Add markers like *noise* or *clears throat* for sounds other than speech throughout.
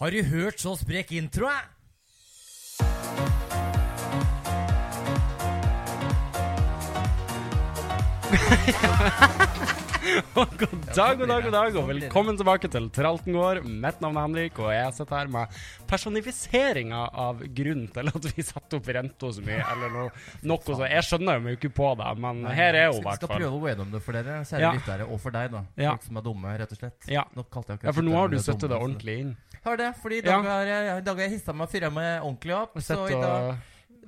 Har du hørt så sprek intro, eh? God dag, god dag, god dag, og velkommen tilbake til Tralten gård. Mitt navn er Henrik, og jeg sitter her med personifiseringa av grunnen til at vi satte opp renta så mye, eller noe, noe så Jeg skjønner jo ikke på det, men her er hun i Jeg hvert skal fall. prøve å gå gjennom det for dere, kjære Ja. lyttere, og for deg, da. Ja. Folk som er dumme, rett og slett. Ja. Nå kalte jeg akkurat Ja, for nå har du lytterne støttet det dumme, altså. så- ordentlig inn. Har det, fordi i dag Ja. har jeg, i dag har jeg hissa meg og fyra meg ordentlig opp. Så Sett i dag, og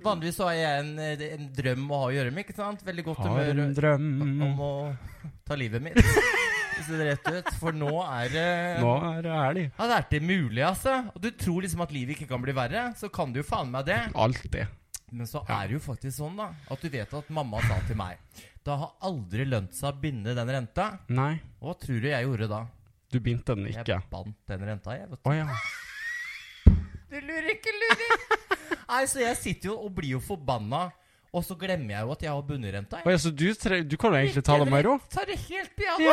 Vanligvis så har jeg en, en drøm å ha å gjøre med, ikke sant? Veldig godt har humør. en drøm om å ta livet *laughs* mitt. Hvis det er rett ut. For nå er det Nå er det ærlig. Ja, det er ikke mulig, altså. Og du tror liksom at livet ikke kan bli verre. Så kan det jo faen meg det. Alltid. Men så Ja. er det jo faktisk sånn, da, at du vet at mamma sa til meg Det har aldri lønt seg å binde den renta. Nei, Og hva tror du jeg gjorde da? du begynte den ikke. Jeg bandt den renta, jeg. vet Å ja. Du lurer ikke, lurer! *laughs* Nei, så jeg sitter jo og blir jo forbanna, og så glemmer jeg jo at jeg har bundet renta. Å ja, så du, tre du kan jo egentlig ta det med ro? Tar det helt piano.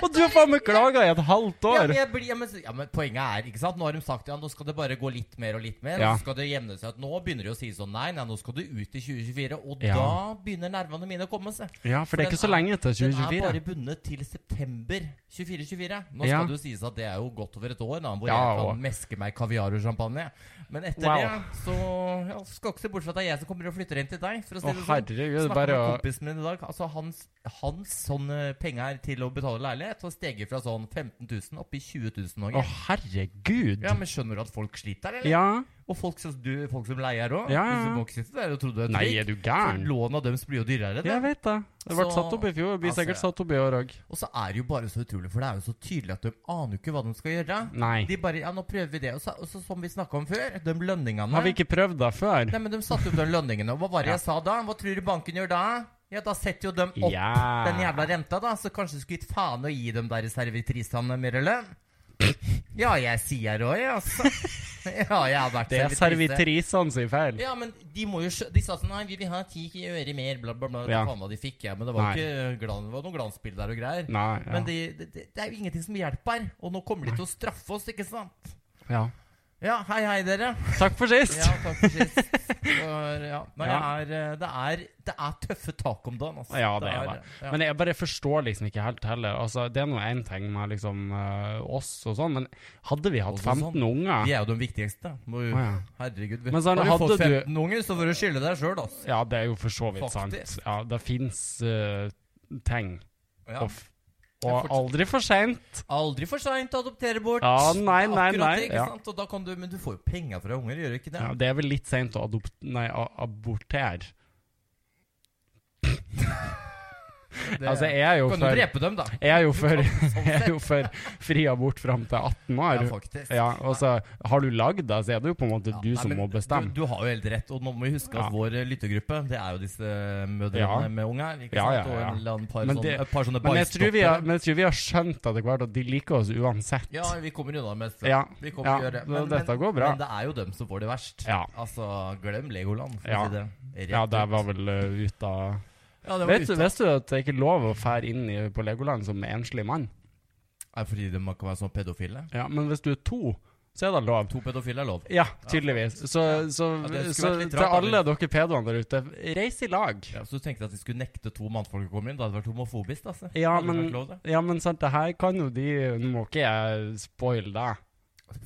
Og du har faen meg klaga i et halvt Ja, år! men, jeg blir, ja, men, s- ja, men poenget er, ikke sant Nå har de sagt ja, nå skal det bare gå litt mer og litt mer. Ja. Og så skal det jevne seg ut. Nå begynner de å si sånn nei, nei, nå skal du ut i 2024. Og Ja. da begynner nervene mine å komme seg. Ja, for det er den ikke så lenge Den til er 2024. bare bundet til september 24-24. Nå Ja. skal det jo sies at det er jo godt over et år, da, hvor Ja, jeg og- kan meske meg kaviar og champagne. Men etter Wow. det så ja, skal ikke se bort fra at det er jeg som kommer og flytter inn til deg. For å si Å det sånn. herregud, det er Snakket bare med å kompisen min i dag. Altså Hans, hans sånn, sånne penger til å betale leilighet har steget fra sånn 15 000 opp i 20 000 nå. Å, herregud! Ja, men skjønner du at folk sliter, eller? Ja. Og folk som, du, folk som leier òg. Ja, ja, ja. Du må ikke sitte der og tro du er Nei, trygg. er du For gæren? Låna deres blir jo dyrere. Jeg Det. vet det. Det ble Så- satt opp i fjor. Det blir Altså, sikkert satt opp i år òg. Og så er det jo bare så utrolig, for det er jo så tydelig at de aner jo ikke hva de skal gjøre. Nei. De bare Ja, nå prøver vi det. Og så, og så som vi snakka om før, de lønningene. Har vi ikke prøvd det før? Nei, men de satte jo opp de lønningene. Og hva var det Ja. jeg sa da? Hva tror du banken gjør da? Ja, da setter jo de opp Ja. den jævla renta, da. Så kanskje du skulle gitt faen og gi dem der servitrisene mer lønn? Ja, jeg sier òg, jeg, altså. Ja, jeg har vært Det er servitrisene sin feil. Ja, men de må jo skjø... De sa sånn Nei, vi vil ha ti øre mer, bla, bla, bla. Ja. Ja. Faen hva de fikk, ja. Men det var Nei. jo ikke glans, det var noe glansbilde der og greier. Nei, ja. Men det, det, det det er jo ingenting som hjelper. Og nå kommer de til å straffe oss, ikke sant? ja. Ja, hei, hei, *laughs* dere. Takk for sist! Ja, takk for sist. For, ja. Nei, Ja. det, er, eh, det, er, det er tøffe tak om dagen, altså. *laughs* Ja, det er det. ja. Men jeg bare forstår liksom ikke helt heller. Altså, det er nå én ting med liksom eh, oss og sånn, men hadde vi hatt Oss og 15 unger De er jo de viktigste. Må jo, Å, ja. Herregud. Men sånn, har du fått hadde du- 15 unger, så får du skylde deg sjøl, altså. Ja, det er jo for så vidt sant. Faktisk. Ja, det fins ting. Ja. Og, f- og fortsatt. aldri for seint. Aldri for seint å adoptere bort. Ja, nei, Det er nei, akkurat nei, det, ikke ja. sant? Og da kan du, men du får jo penger fra unger, gjør du ikke det? Ja, det er vel litt seint å adopt... Nei, a- abortere. det Altså, jeg er jo kan du for drepe dem, da? Jeg er jo for, Sånn *laughs* jeg er sett. jo for fri abort fram til 18 Ja, år. faktisk. Ja, og så har du lagd det, så er det jo på en måte Ja, du nei, som men må bestemme. Du, du har jo helt rett, og nå må vi huske at Ja. vår eh, lyttegruppe, det er jo disse mødrene Ja. med unger. Ikke Ja, ja, sant? Og ja. en eller annen par Men sånne, det- et par sånne Men jeg, tror vi har, ballstoppere. men jeg tror vi har skjønt etter hvert at de liker oss uansett. Ja, vi kommer unna med det. Ja, Vi kommer ja til å gjøre det. så dette går bra. men det er jo dem som får det verst. Ja. Altså, glem Legoland, for Ja. å si det. Ja, det var vel uh, ut av ja, det var Vet du, ute. visste du at det ikke er lov å fære inn i, på Legoland som enslig mann? Er det fordi de kan være sånn pedofile? Ja, Men hvis du er to, så er det lov. To pedofile er lov. Ja, tydeligvis. Så, Ja, så, det skulle så vært litt til rart, alle dere pedoene der ute, reis i lag. Ja, så du tenkte at de skulle nekte to mannfolk å komme inn? Det hadde vært homofobisk, altså. Ja, Hadde men, vært lov, det. ja, men sant, det her kan jo de Nå må ikke jeg spoile det.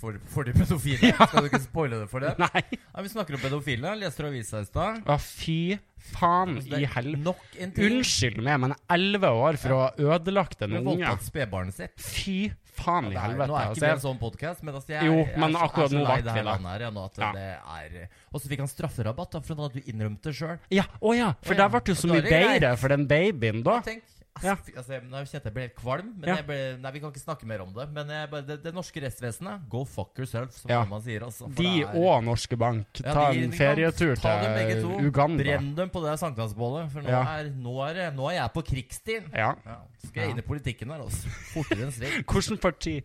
For, for de pedofile? *laughs* Skal du ikke spoile det *laughs* for det? Nei! Ja, vi snakker om pedofile. Leser avisa i stad. Å, fy faen Altså, det Mm, i er helvete. Nok en ting Unnskyld meg, men elleve år for å ha ødelagt en med unge. voldtatt spedbarnet sitt. Fy faen i Det er- helvete. nå er ikke det en Altså, sånn podkast, men altså jeg, Jo, jeg, er men så- jeg akkurat er så nå lei var det her det. landet her ja, nå at Ja. det er Og så fikk han strafferabatt da, for at du innrømte det sjøl. jeg- ja, å ja, for Å ja, det ble jo da så er mye det greit. bedre for den babyen, da. Tenk. Altså, Ja. fy- altså, jeg- nå kjente jeg jeg ble helt kvalm. Men Ja. jeg ble, nei, vi kan ikke snakke mer om det. Men jeg, bare- det, det norske rettsvesenet, go fuck yourself, som Ja. man sier. Altså, for De det er- og Norske Bank, Ja, ta de- en de kan ferietur ta dem begge to. til Uganda. Brenn dem på det sankthansbålet, for nå, Ja. er, nå, er, det- nå er jeg på krigsstien. Ja. Ja, skal jeg inn i politikken her, altså. Fortere enn strek. Hvilket parti?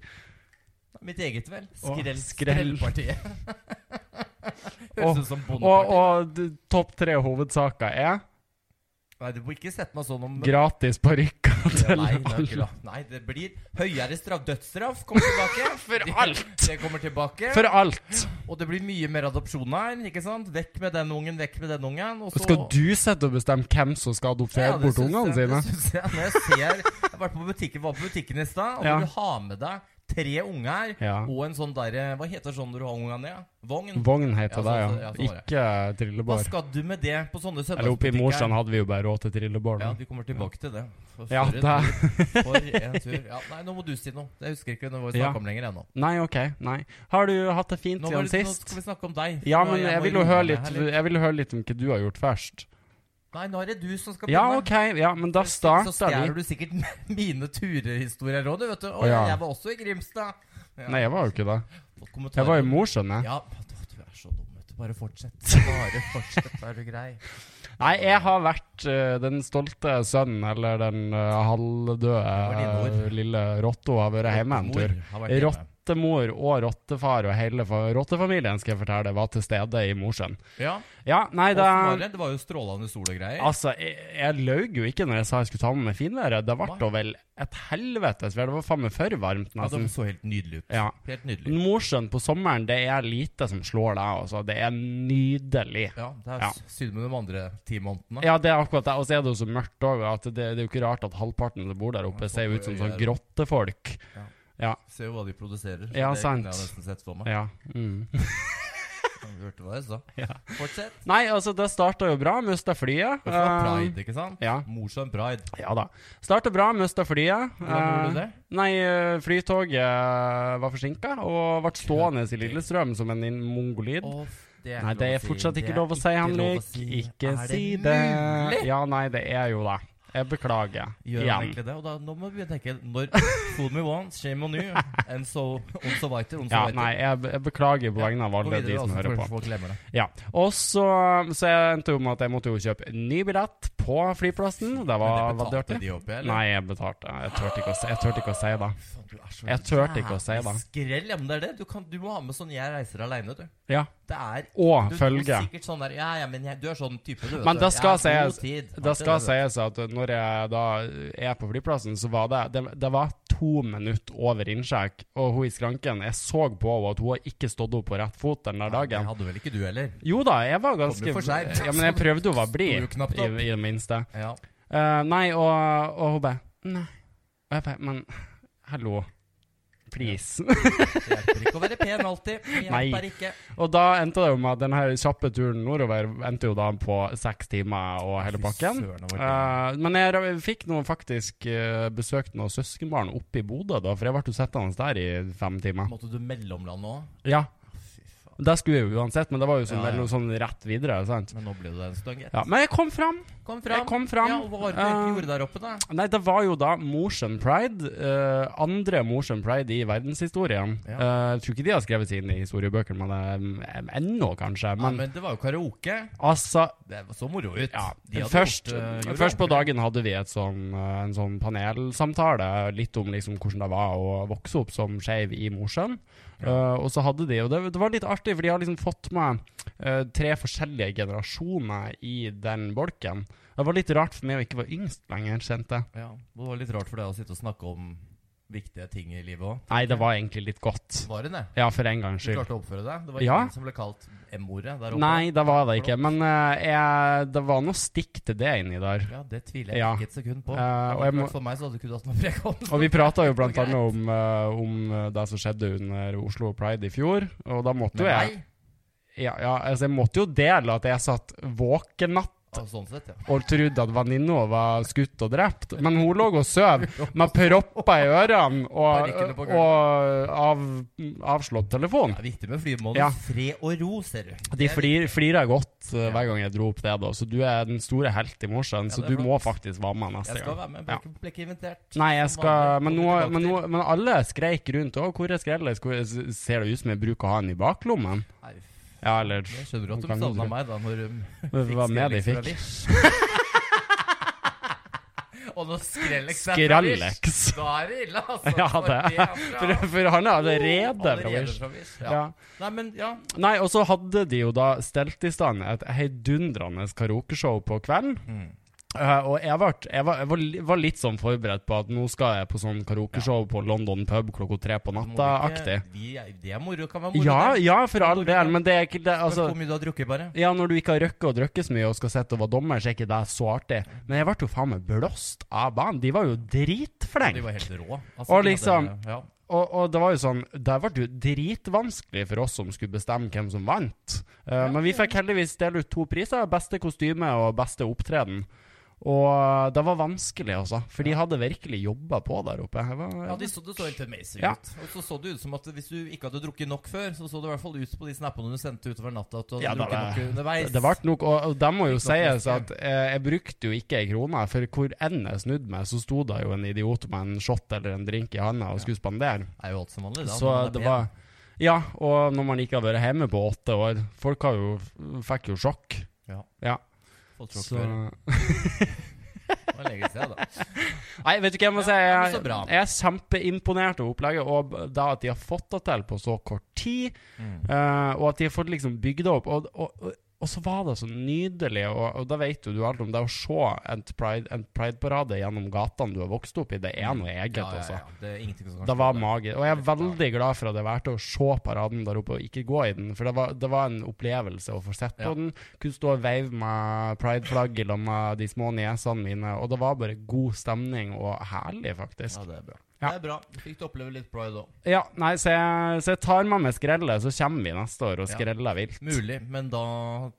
Mitt eget, vel. Å, Skrell, skrell. Skrellpartiet. *laughs* Å, Høres ut som Og, bondepartiet. og d- topp tre hovedsaker er Nei, du må ikke sette meg sånn om Gratis parykker Ja, til nei, det er ikke alle. lov. nei, det blir høyere straff. Dødsstraff kommer tilbake. *laughs* For Det- alt. Det kommer tilbake. For alt. Og det blir mye mer adopsjon her. ikke sant? Vekk med den ungen, vekk med den ungen. Og så Skal du sette og bestemme hvem som skal adoptere Ja, det bort syns ungene jeg- det sine? syns jeg. Når jeg ser Jeg har vært på butikken, var på butikken i stad, og Ja. når du har med deg tre unger Ja. og en sånn derre Hva heter sånn når du har ungene ned? Vogn? Vogn heter det, Ja, sånn- ja. ja, sånn var det. Ikke Hva trillebar. skal du med det på sånne Eller oppe i Mosjøen søndagsbutikker? hadde vi jo bare råd til trillebar. Ja, da. vi kommer tilbake til det. For, Ja, for en det- tur. For en tur. Ja, nei, nå må du si noe. Jeg husker ikke når vi snakka Ja. om lenger ennå. Nei, OK. Nei. Har du hatt det fint Nå, var siden det- nå skal sist? vi snakke om deg. Ja, Nå- men jeg må vil jo roe høre meg litt, her litt. jeg vil høre litt om hva du har gjort først. Nei, nå er det du som skal Ja, begynne. OK. Ja, men da Så starter stjeler vi. du sikkert *laughs* mine turhistorier òg, du, vet du. Å, Å, ja. jeg var også i Grimstad. Ja. Nei, jeg var jo ikke det. Og kommentarer- Jeg var i Mosjøen, jeg. Ja, du, du er så dum, vet du. Bare fortsett. Bare fortsett, er du *laughs* grei. Nei, jeg har vært eh, den stolte sønnen, eller den eh, halvdøde var dine ord. eh, lille Rotto, har vært hjemme en Mor tur. har vært hjemme. Rottemor og rottefar og hele fa- rottefamilien skal jeg fortelle, var til stede i Mosjøen. Ja. Ja, nei, Åssen da var det? Det var jo strålende sol og greier. Altså, jeg, jeg løy jo ikke når jeg sa jeg skulle ta med meg finværet. Det ble Nei. da vel et helvetes vær. Det var faen meg for varmt, ja, det nesten. så helt nydelig ut. Ja. Helt nydelig. Mosjøen på sommeren, det er lite som slår deg, altså. Det er nydelig. Ja, det er Ja. synd med de andre ti månedene. Ja, det er akkurat det. Og så er det jo så mørkt òg, at det, det er jo ikke rart at halvparten som bor der oppe, Ja, ser jo folk ut som er- sånn grottefolk. Se jo hva de produserer. så Ja, det sant. kunne jeg nesten sett for meg. Ja. Mm. Du hørte hva jeg sa. Ja. Fortsett. Nei, altså, det starta jo bra. Mista flyet. Det var Eh, pride, ikke sant? ja. Morsom pride. ja da. Starta bra, mista flyet. Hvordan gjorde du Eh, det? Nei, eh, flytoget var forsinka og ble stående i Lillestrøm som en in- mongolid. Å, det Nei, ikke det er lov å si. fortsatt Det ikke er lov å si, ikke lov å Henrik. si. Ikke Er si mulig? det. Ja, nei, det er jo det. Jeg beklager. Gjør han Igjen. egentlig det? Og da, nå må vi begynne å tenke Når Fool me once, shame on you. And so on so weiter. On so Ja, weiter. nei, jeg, jeg beklager på vegne av Gå alle videre, de da, som så hører kanskje på. Folk glemmer det. Ja, og så, så jeg endte jo med at jeg måtte jo kjøpe ny billett på flyplassen. Men Det var, var det betalte dirty. de opp, eller? Nei, jeg betalte. Jeg turte ikke å si, jeg turte ikke å si det. Faen, du er så Jeg turte ikke å si jævlig det. Skrell, ja, men det er det. Du, kan, du må ha med sånn 'jeg reiser alene du. Ja, Det er Og du, Du følge. er sikkert sånn der Ja, ja, men jeg, du er sånn type, du. vet Men du. det skal Jeg har god sies- tid. Det Alltid skal det, sies at når jeg da er på flyplassen, så var det Det, det var to minutter over innsjekk, og hun i skranken Jeg så på henne at hun har ikke stått opp på rett fot den der vet du. Ja, dagen. det hadde vel ikke du heller? Jo da, jeg var ganske Kom du for sent? Ja, men jeg prøvde å være Sto jo blid, knapt i, opp. i det minste. Ja. Eh, nei, og, og hun bare Nei. Og jeg bare Men hallo. Please. Det hjelper ikke å være pen alltid. Det Nei. hjelper ikke. *laughs* og da endte det jo med at den her kjappe turen nordover endte jo da på seks timer og hele pakken. Fy søren, det var ikke- Eh, men jeg ra- fikk nå faktisk eh, besøkt noen søskenbarn oppe i Bodø, da, for jeg ble jo sittende der i fem timer. Måtte du mellomlande nå? Ja, Fy faen. Det skulle jeg jo uansett, men det var jo sånn, Ja, ja. vel noe sånn rett videre. sant? Men nå ble det en stund, gitt. Ja, Men jeg kom fram. Kom Jeg fram. kom fram. Ja, og hva var det du egentlig Eh, gjorde der oppe, da? Nei, det var jo da Mosjøen Pride. eh, andre Mosjøen Pride i verdenshistorien. Eh, jeg tror ikke de har skrevet seg inn i historiebøkene, men det er mm, ennå, kanskje. Men, ja, Men men det var jo karaoke. altså Det så moro ut. ja, De hadde først, gjort, eh, gjorde først på ordentlig. dagen hadde vi et sånn, eh, en sånn panelsamtale litt om liksom hvordan det var å vokse opp som skeiv i Mosjøen. Eh, og så hadde de, og det, det var litt artig, for de har liksom fått med eh, tre forskjellige generasjoner i den bolken. Det var litt rart for meg å ikke være yngst lenger, kjente jeg. Ja, Det var litt rart for deg å sitte og snakke om viktige ting i livet òg. Nei, det var egentlig litt godt. Var det det? Ja, for en gangs Du skyld. klarte å oppføre deg? Det var Ja. ingen som ble kalt M-ordet der oppe? Nei, det var det ikke. Men eh, jeg, det var noe stikk til det inni der. Ja, Det tviler jeg Ja. ikke et sekund på. Eh, og jeg må- For meg så hadde du ikke hatt noe prekomst. Og vi prata jo blant Greit. annet om, eh, om eh, det som skjedde under Oslo Pride i fjor, og da måtte jo jeg Nei. ja, ja, altså Jeg måtte jo dele at jeg satt våken natt Ja, sånn sett, ja. og trodde at venninna var skutt og drept, men hun lå *laughs* og sov med propper i ørene Parykkene og, på og av, avslått telefon. Det er viktig med flymål. Ja. Fred og ro, ser du. De Det er flir, flirer godt eh, Ja. hver gang jeg dro opp det, da, så du er den store helt i Mosjøen, Ja, så det er du må flott. faktisk være med neste Jeg skal gang. være med, ble ikke, ble ikke invitert. Nei, jeg Som skal vanlig. Men, nå, Kommer tilbake men, nå, til. men alle skreik rundt òg. Hvor er skrellet? Hvor- s- Ser det ut som jeg bruker å ha den i baklommen? Nei, f- Ja, eller Jeg skjønner at de Kan du savna tro. meg da når um, Hva mer de fikk? *laughs* Og når Skrellex er fra Vish, Skrallex. da er det ille, altså. Ja, For det er For, bra. for han er allerede fra Allerede Vish. fra Vish. Ja. Ja. Nei, men ja. Nei, og Mm. så hadde de jo da stelt i stand et heidundrende karaokeshow på kvelden. Eh, og jeg, vart, jeg, var, jeg var, li- var litt sånn forberedt på at nå skal jeg på sånn karaokeshow på London pub klokka tre på Må natta-aktig. ikke- vi er- Det er moro. Kan være moro. Ja, det. ja, for all del, men det er ikke det, altså Hvor mye du har drukket, bare. ja, når du ikke har røkket og drukket så mye og skal sitte og være dommer, så er ikke det så artig. Men jeg ble jo faen meg blåst av banen. De var jo De var dritflinke. helt rå. Altså, Og de liksom- hadde- ja. Og, og det var jo sånn Det ble jo dritvanskelig for oss som skulle bestemme hvem som vant. Eh, men vi fikk heldigvis dele ut to priser. Beste kostyme og beste opptreden. Og det var vanskelig, altså. For de hadde virkelig jobba på der oppe. Jeg var, Ja, de så, det så helt amazing Ja. ut. Og så så det ut som at hvis du ikke hadde drukket nok før, så så det i hvert fall ut på de snappene du sendte utover natta at du hadde Ja, da drukket var- nok underveis. Det ble nok, og, og det må Ikke jo nok sies at eh, jeg brukte jo ikke ei krone, for hvor enn jeg snudde meg, så sto det jo en idiot med en shot eller en drink i handa og skulle spandere. Det er jo alt som vanlig, da. når Så man er det pen. var Ja, og når man ikke har vært hjemme på åtte år Folk har jo, fikk jo sjokk. Ja. Ja. Folk tror ikke Så det. Nei, Det var lenge siden, *laughs* da. vet du hva jeg må si? Ja, Jeg, men så bra. jeg er kjempeimponert over opplegget, og b- da at de har fått det til på så kort tid. Mm. Eh, og at de har fått liksom bygd det opp. Og, og, og, og så var det så nydelig, og, og da vet jo du alt om det å se en pride- en pride-parade gjennom gatene du har vokst opp i. Det er noe eget, Mm. Ja, ja, altså. ja. Det er ingenting som kan Det var slå magisk. Og jeg er veldig glad for at jeg valgte å se paraden der oppe, og ikke gå i den. For det var, det var en opplevelse å få sett på Ja. den. Kunne stå og veive med pride-flagg sammen med de små niesene mine. Og det var bare god stemning og herlig, faktisk. Ja, det er bra. Ja. Det er bra. Du fikk du oppleve litt pride òg. Ja, nei, så jeg, så jeg tar med meg skrellet, så kommer vi neste år og Ja. skreller vilt. Mulig, men da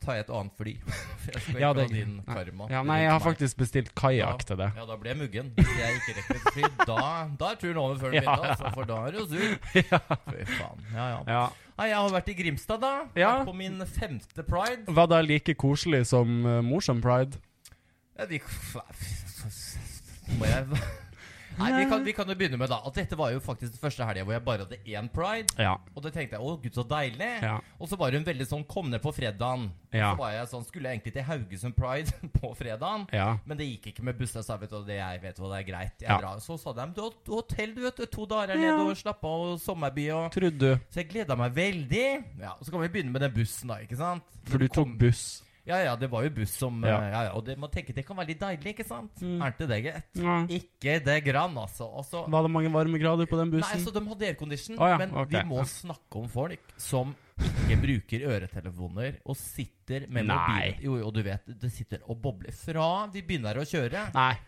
tar jeg et annet fly. *laughs* For jeg skal Ja, ikke det- ha din karma. Ja, nei, jeg har faktisk bestilt kajakk til det. Ja, da blir jeg muggen. Hvis jeg ikke rekker et fly, da, da er turen over før den Ja. begynner, altså, for da er det jo sur. Fy faen. Ja, ja. Ja. Nei, jeg har vært i Grimstad, da. Ja. Vært På min femte pride. Var det like koselig som uh, morsom pride? Ja, vi, må jeg Nei, vi kan, vi kan jo begynne med da at dette var jo faktisk den første helga hvor jeg bare hadde én pride. Ja. Og det tenkte jeg å gud, så deilig. Ja. Og så var hun veldig sånn kom ned på fredagen. Ja. Så var jeg sånn, skulle jeg egentlig til Haugesund Pride *laughs* på fredagen. Ja. Men det gikk ikke med buss. Jeg sa vet du, hva, det jeg vet hva, det er greit. Jeg Ja. drar. Så sa de du har hotell, du vet. du, To dager her Ja. nede og slapp av, og sommerby og Trodde du. Så jeg gleda meg veldig. Ja, og Så kan vi begynne med den bussen, da. ikke sant? For du tok buss. Ja ja, det var jo buss som Ja. Ja, ja, og det, man tenker det kan være litt deilig, ikke sant? Mm. Er det ikke det greit? Ja. Ikke det grann, altså. altså Var det mange varmegrader på den nei, bussen? så de hadde aircondition, Å ja, men ok. vi må snakke om folk som ikke bruker øretelefoner og sitter med Nei. mobilen. Jo, jo, du vet, det sitter og bobler fra de begynner å kjøre. Nei.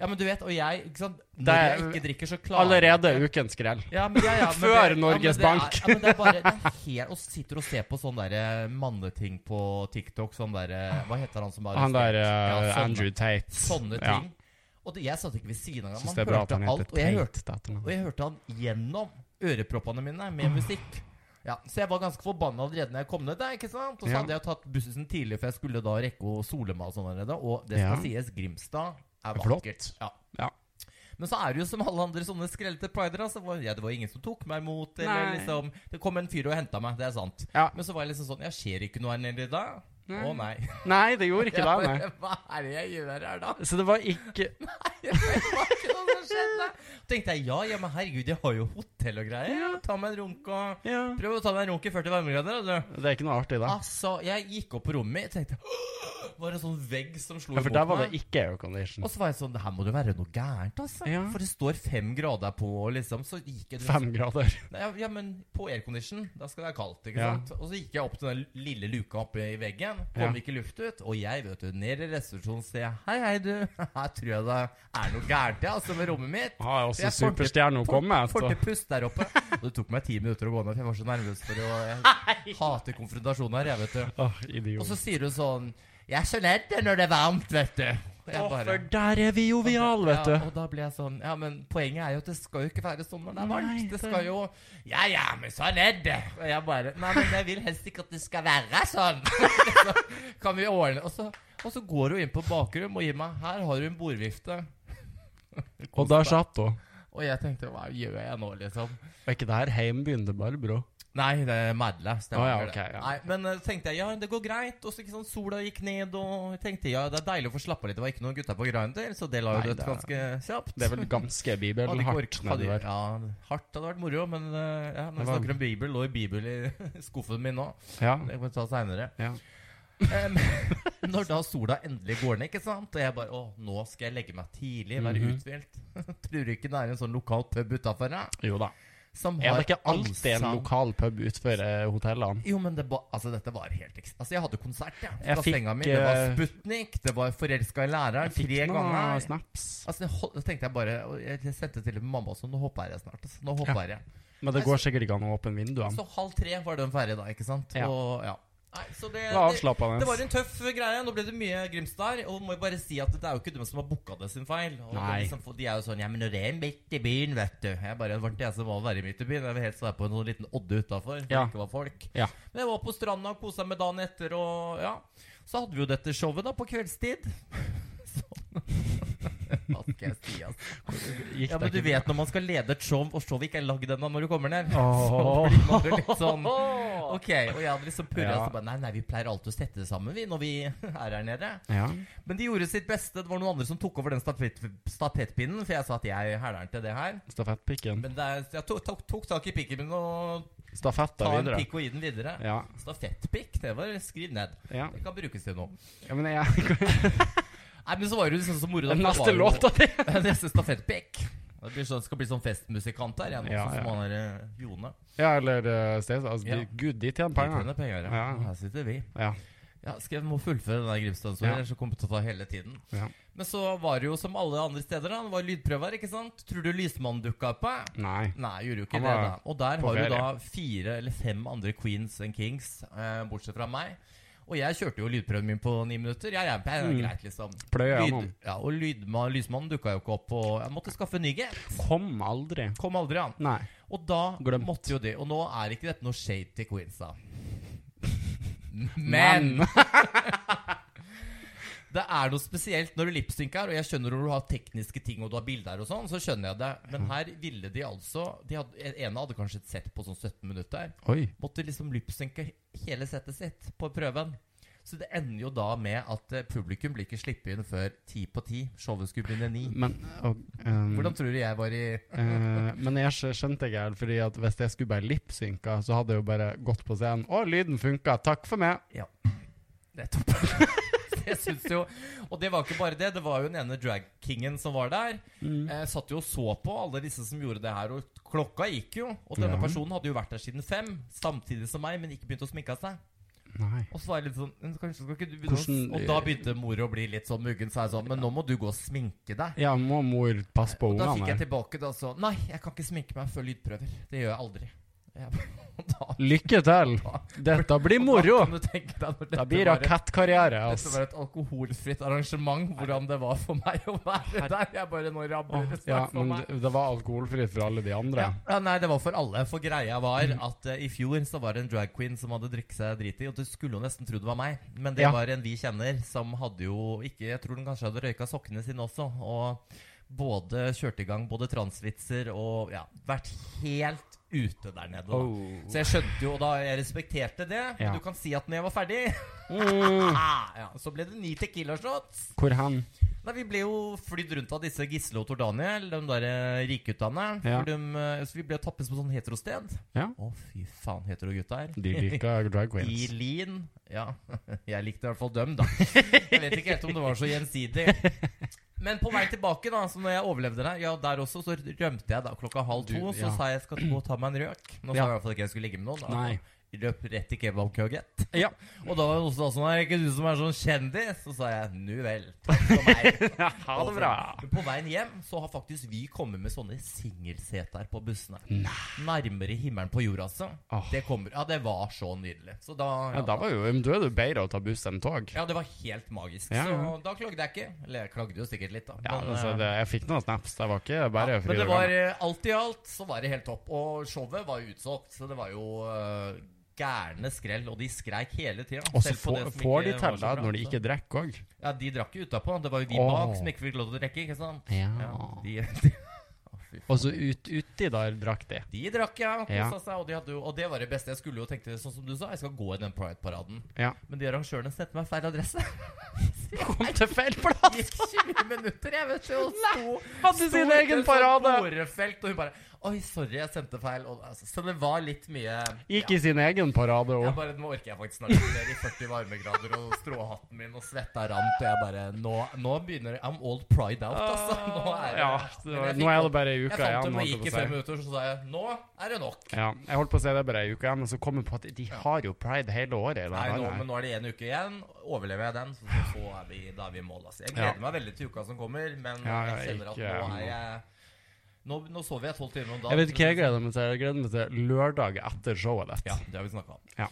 Ja, men du vet, og jeg, ikke sant Når Det er- jeg ikke drikker, så klarer Allerede jeg ikke. ukens skrell. Ja, men, ja, ja, men Før det- Norges ja, men Bank. Det er, ja, men det er bare det er helt, Og sitter og ser på sånne der eh, manneting på TikTok. Sånn der Hva heter han som er Han der arrestert? eh, sånne- Andrew Tate. Sånne Ja. ting. Og det, jeg satt ikke ved siden av. Syns ham. det Man er bra at hørte han heter alt. Og jeg, hørte, Tate. til etternavn. og jeg hørte han gjennom øreproppene mine Mm. med musikk. Ja, Så jeg var ganske forbanna allerede når jeg kom ned der. ikke sant? Og så Ja. hadde jeg tatt bussen tidlig, for jeg skulle da rekke å sole meg. Og sånn allerede. Og det Ja. skal sies, Grimstad er Flott. vakkert. Ja. Ja. Men så er det jo som alle andre sånne skrellete prider. Altså, hvor- ja, det var ingen som tok meg imot. Eller Nei. liksom, det kom en fyr og henta meg. Det er sant. Ja. Men så var jeg liksom sånn Jeg ser ikke noe her nede i dag. Nei. Å nei. Nei, det *laughs* gjorde ikke det, nei. Hva er det jeg gjør her, da? *laughs* Så det var ikke Hva er det som skjedde? tenkte jeg ja, ja, men herregud, jeg har jo hotell og greier. Ja. Ta meg en runk og ja. Prøv å ta meg en runk i 40 varmegrader, da, du. Det er ikke noe artig, da. Altså, jeg gikk opp på rommet mitt tenkte «Åh!» Var det en sånn vegg som slo Ja, for der var meg? det ikke aircondition. Og så var jeg sånn Det her må det være noe gærent, altså. Ja. For det står fem grader på, liksom. Så gikk jeg Fem *laughs* grader. Nei, Ja, ja, men på aircondition, da skal det være kaldt, ikke Ja. sant? Og så gikk jeg opp til den lille luka oppe i veggen, kom Ja. ikke luft ut, og jeg, vet du, ned i resepsjonen ser jeg, hei, hei, du, *laughs* her tror jeg det er noe gærent, ja, altså, med rommet mitt. Har jeg Jeg også får til- Ah, superstjerne å Får komme altså. får etter? til pust der oppe. Og det tok meg ti minutter å gå ned, for jeg var så nervøs for å Jeg hater konfrontasjoner, jeg, vet du. Åh, Og idiot. så sier hun sånn Jeg er så redd når det er varmt, vet du. Og jeg Å, bare- for der er vi jovial, vet ja, du. og da ble jeg sånn Ja, men poenget er jo at det skal jo ikke være sånn når det er varmt. Nei, det det- skal jo Ja, ja, men sånn er det. Og jeg bare Nei, men jeg vil helst ikke at det skal være sånn. *laughs* så kan vi ordne Og så, og så går hun inn på bakrom og gir meg Her har du en bordvifte. Og der satt hun. Og jeg tenkte Hva gjør jeg nå, liksom? Er ikke det her heimbyen til Barbro? Nei, det er Madla. Å ja, ok, ja. Nei, Men eh, så tenkte jeg ja, det går greit. Og så ikke sånn, sola gikk ned, og jeg tenkte ja, det er deilig å få slappa litt. Det var ikke noen gutter på grinder, så det la Nei, jo dødt det er- ganske kjapt. Det er vel ganske Hadde ikke bibelhardt orket- nedi hadde- der. Ja, hardt hadde vært moro, men eh, ja, når Det vi var- snakker om Bibel, lå jo Bibel i *laughs* skuffen min nå. Ja. Det kan vi ta seinere. Ja. Em, *laughs* når da sola endelig går ned, ikke sant? og jeg bare Å, nå skal jeg legge meg tidlig, være Mhm. uthvilt. *laughs* Tror du ikke det er en sånn lokal pub utafor her? Jo da. Som Er det ikke alltid en allsang? lokal pub utenfor eh, hotellene? Jo, men det var, altså, dette var helt ekst... Altså, jeg hadde konsert, ja. Jeg Fra fikk, senga mi. Det var eh, Sputnik, det var Forelska i læreren. Fikk Tre noen ganger. snaps. Altså, jeg hol- da tenkte jeg bare og Jeg jeg sendte til mamma også. Nå hopper jeg snart. Altså. Nå hopper jeg. Men det går sikkert ikke an å åpne vinduene. Så halv tre var den ferdig da, ikke sant? Ja. Og ja. Nei, så det, Det var det, avslappende. det var en tøff greie. Nå ble det mye Grimstad. her, Og må jo bare si at det er jo ikke dem som har booka det sin feil. Og det er Nei. liksom, for de er jo sånn Ja, men når det er midt i byen, vet du. Jeg bare, det var ikke jeg som var å være midt i byen. Jeg vil helst være på en sånn liten odde utafor. Ja. Det ikke var folk. Ja. Men jeg var på stranda og kosa meg dagen etter, og ja. Så hadde vi jo dette showet da på kveldstid. *laughs* Sånn. *laughs* Hva skal jeg si, altså? Gikk Ja, men det du ikke? vet når man skal lede et show, og showet ikke er lagd ennå når du kommer ned. Åh. Så blir man jo litt *laughs* sånn Ok, og jeg hadde liksom purra. Ja. så bare, Nei, nei, vi pleier alltid å sette det sammen, vi, når vi *laughs* er her nede. Ja. Men de gjorde sitt beste. Det var noen andre som tok over den stafett, stafettpinnen, for jeg sa at jeg hæler den til det her. Stafettpikken. Men det er, jeg tok, tok, tok tak i pikken min og Stafetta ta en videre. pikk og gi den videre. Ja. Stafettpikk, det var skriv ned. ja. Det kan brukes til noe. ja men jeg, Nei, men så var det jo liksom så moro da, for Neste det var *laughs* jo- låta di! Neste stafettpikk. Det blir sånn, skal bli sånn festmusikant her igjen, Ja, også, ja. som han der eh, Jone. Ja, eller uh, Stayside. Altså, Ja. de- Gud, de tjener De penger. tjener penger, ja. Ja. Her sitter vi. Ja. Ja, skal jeg må fullføre den der Grimstad-historien, Ja. ellers så kommer det til å ta hele tiden. Ja. Men så var det jo som alle andre steder, da. Det var lydprøver, ikke sant? Tror du Lysmannen dukka opp? eh? Nei. Nei, gjorde jo ikke Han det, var da. Og der på har du da ferie. fire eller fem andre queens and kings, eh, bortsett fra meg. Og jeg kjørte jo lydprøven min på ni minutter. Jeg er Mm. greit, liksom. Pløyer Lyd, gjennom. ja, og lydma, lysmannen dukka jo ikke opp, og jeg måtte skaffe en ny G. Kom aldri. Kom aldri an. Nei. Og da Glemt. måtte jo det. Og nå er ikke dette noe shade til queens, da. Men Men. det er noe spesielt når du lipsynker, og jeg skjønner når du har tekniske ting og du har bilder og sånn, så skjønner jeg det. Men her ville de altså De hadde, ene hadde kanskje et sett på sånn 17 minutter. Oi. Måtte liksom lipsynke hele settet sitt på prøven. Så det ender jo da med at eh, publikum blir ikke sluppet inn før ti på ti. Showet skulle begynne ni. Men og, um, Hvordan tror du jeg var i Eh, men jeg skj- skjønte ikke helt, fordi at hvis jeg skulle bare lipsynka, så hadde jeg jo bare gått på scenen. Å, lyden funka! Takk for meg! Nettopp. *laughs* Jeg synes jo Og det var ikke bare det. Det var jo den ene dragkingen som var der. Eh, satt jo og så på alle disse som gjorde det her. Og klokka gikk jo. Og denne Ja. personen hadde jo vært der siden fem, samtidig som meg, men ikke begynt å sminke seg. Nei. Og så var jeg litt sånn "Men Kanskje skal ikke du begynne å s-" Hvordan- Og da begynte mor å bli litt sånn muggen. Så jeg sånn Men nå må du gå og sminke deg. Ja, må mor passe på Og da ungene fikk jeg her. tilbake det og så Nei, jeg kan ikke sminke meg før lydprøver. Det gjør jeg aldri. Jeg, *laughs* og da, Lykke til! Dette blir moro! Da kan du tenke deg når Det dette blir var et- rakettkarriere, dette ass. var et alkoholfritt arrangement, hvordan det var for meg å være der. Jeg bare nå rabler det Ja, snart for men meg. det- det var alkoholfritt for alle de andre. Ja. ja, Nei, det var for alle. For greia var at eh, i fjor så var det en drag queen som hadde drukket seg drit i. Og du skulle jo nesten tro det var meg, men det Ja. var en vi kjenner som hadde jo ikke Jeg tror den kanskje hadde røyka sokkene sine også. Og både kjørte i gang både transvitser og ja, vært helt ute der nede. Da. Oh. Så jeg skjønte jo, og da jeg respekterte det Ja. Men du kan si at når jeg var ferdig, Mm. ah, ja, så ble det ni tequila shots. Hvor hen? Nei, Vi ble jo flydd rundt av disse Gisle og Tor Daniel, de der eh, rikguttene. Ja. For dem, eh, Så vi ble tappes på sånn heterosted. Ja. Å, fy faen, heterogutta her. De *laughs* liker drag I queens. Lien. Ja, *laughs* jeg likte i hvert fall dem, da. Jeg vet ikke helt om det var så gjensidig. Men på vei tilbake, da, så når jeg overlevde der, ja, der også, så rømte jeg da klokka halv Du, to. Så ja. sa jeg jeg skal gå og ta meg en røk. Nå sa Ja. jeg i hvert fall ikke jeg skulle ligge med noen. Da. Nei. Løp rett i kebabkøget. Ja. Og da var det også sånn, er det ikke du som er sånn kjendis? Så sa jeg, nu vel, takk for meg. Ha det bra. Men På veien hjem så har faktisk vi kommet med sånne singelseter på bussene. Nærmere himmelen på jorda, altså. Åh. Det kommer, ja, det var så nydelig. Så da Ja, da var jo, men da er det jo bedre å ta buss enn tog. ja, det var helt magisk. Ja, ja. Så da klagde jeg ikke. Eller jeg klagde jo sikkert litt, da. Ja, Men, altså, eh, det, jeg fikk noen snaps. Det var ikke bare ja, fryd men det og var gammen. eh, alt i alt så var det helt topp. Og showet var jo utsolgt, så det var jo eh, gærne skrell. Og de skreik hele tida. Og så får, får de til det altså. når de ikke drikker òg. Ja, de drakk jo utapå. Det var jo de Åh. bak som ikke fikk lov til å drikke, ikke sant. Ja, de, de, Å, fy faen. Og så ut, uti der drakk de. De drakk, ja. og Ja. kosa seg, og, de hadde jo, og det var det beste. Jeg skulle jo tenkte, sånn som du sa, jeg skal gå i den Pride-paraden. Ja. Men de arrangørene sendte meg feil adresse. *laughs* Kom til feil plass! Det gikk 20 minutter, jeg, vet du. Og sto, Hadde sto sin i et egen sånt parade! borefelt, og hun bare Oi, sorry, jeg sendte feil. Og, altså, så det var litt mye Gikk i sin egen parade Jeg òg. bare, nå orker jeg faktisk snart ikke mer i 40 varmegrader og stråhatten min og svetta rant. Og jeg bare Nå, nå begynner I'm all pride out, altså. Nå er det, Ja, det var, nå er det bare ei Jeg uke fant igjen. dem og holdt jeg gikk i på å si. fem minutter, så sa jeg nå er det nok. Ja, jeg holdt på å si det bare ei uke igjen, men så kom jeg på at de har jo pride hele året. i det Nei, nå, landet her. men nå er det én uke igjen. Overlever jeg den, så, så er vi, da er vi i mål. Altså. Jeg gleder Ja. meg veldig til uka som kommer, men Ja, jeg jeg kjenner at ikke- nå er jeg Nå, nå sover jeg tolv timer om dagen. Jeg vet ikke hva jeg gleder meg til. Jeg gleder meg til lørdag etter showet ditt. Ja, det har vi snakka om.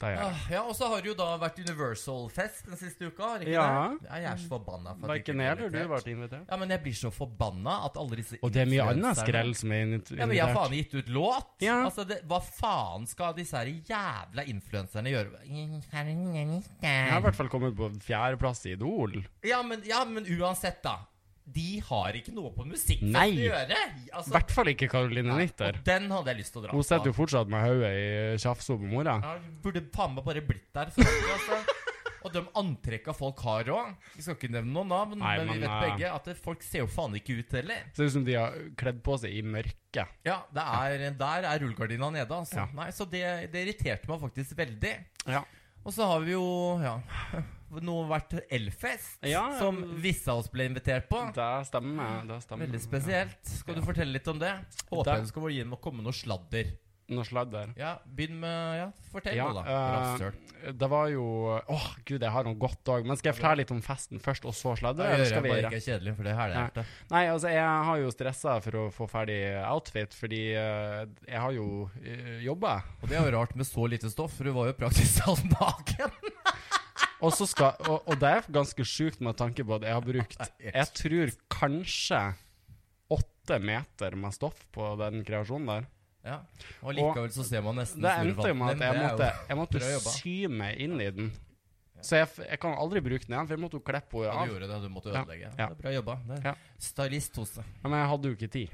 Det gjør jeg. Ah, Ja, og så har det jo da vært Universal-fest den siste uka. har det Ikke Ja. det? ja. Jeg er så forbanna. for at Ah, jeg ikke Verken jeg ble eller du invitert. ble invitert. Ja, men jeg blir så forbanna at alle disse Og det er mye annet influencerne- skrell som er invit- Ja, men jeg har invitert. faen gitt ut låt! Ja. Altså, det, Hva faen skal disse her jævla influenserne Jeg har i gjøre? hvert fall kommet på fjerdeplass i Idol. Ja men, ja, men uansett, da. De har ikke noe på musikkfest Nei. å gjøre! I Altså, hvert fall ikke Karoline Nitter. og den hadde jeg lyst til å dra Hun sitter jo fortsatt med hodet i tjafsa på mora. Ja, du burde faen meg bare blitt der. For, alltid, altså. Og de antrekka folk har òg. Vi skal ikke nevne noen navn, Nei, men, men, vi vet eh, begge at det, folk ser jo faen ikke ut heller. Ser ut som de har kledd på seg i mørket. Ja, det er, Der er rullegardina nede, altså. Ja. Nei, så det, det irriterte meg faktisk veldig. Ja. Og så har vi jo ja, *laughs* nå vært Elfest, Ja, som ja. visse av oss ble invitert på. Det stemmer. Det stemmer. Ah. Veldig spesielt. Skal du fortelle litt om det? Mm, Håper Da- jeg det skal gi- komme noe sladder. Noe sladder. Ja, Begynn med Ja, fortell Ja, nå, da. eh, Rasshøl. det var jo Åh, gud, jeg har noe godt òg. Men skal jeg fortelle litt om festen først, og så Da sladder? gjør Eller jeg skal vi bare ikke kjedelig, for det er Nei. det. Nei, altså, jeg har jo stressa for å få ferdig outfit, fordi eh, jeg har jo uh, jobba. Og det er jo rart med så lite stoff, for du var jo praktisk talt *laughs* naken. Og, så skal- og, og det er ganske sjukt med tanke på at jeg *laughs* har brukt Jeg tror kanskje åtte meter med stoff på den kreasjonen der. Ja. Og likevel så ser man nesten Det endte jo med snurrevanten at jeg din. måtte, Det er jo- jeg måtte bra jobba. sy meg inn i den. Så jeg, f- jeg kan aldri bruke den igjen, for jeg måtte jo klippe henne Ja, av. du gjorde det, du måtte Ja, ødelegge. ja. Det er bra jobba. Det er Ja. Stylist hos deg. Ja, Men jeg hadde jo ikke tid.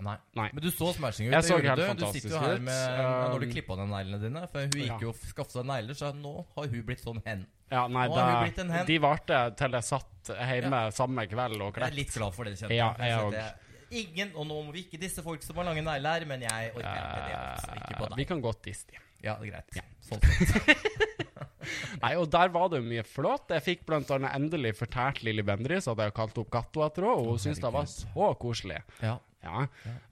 Nei. Nei. Men du så smashing ut. Jeg det så gjorde helt du. fantastisk Du sitter jo her ut. med ja, Når du Um, klippa ned neglene dine. For hun ja. gikk jo og skaffa seg negler, så nå har hun blitt sånn hen. Ja, nei, Nå har hun blitt en det, hen. de varte til jeg satt hjemme samme kveld og Jeg er klippet. litt glad for det, kjente Ja, For jeg jeg kjente Ingen, og nå må vi ikke disse folk som har lange negler, men jeg orker ikke det. Altså. Ikke på Eh, Vi deg. kan godt disse de. Ja, det er greit. Sånn sett. Nei, og der var det jo mye flott. Jeg fikk blant annet endelig fortalt Lilly Bendriss at jeg har kalt opp katta etter henne, og hun syntes det var så koselig. Ja. Ja.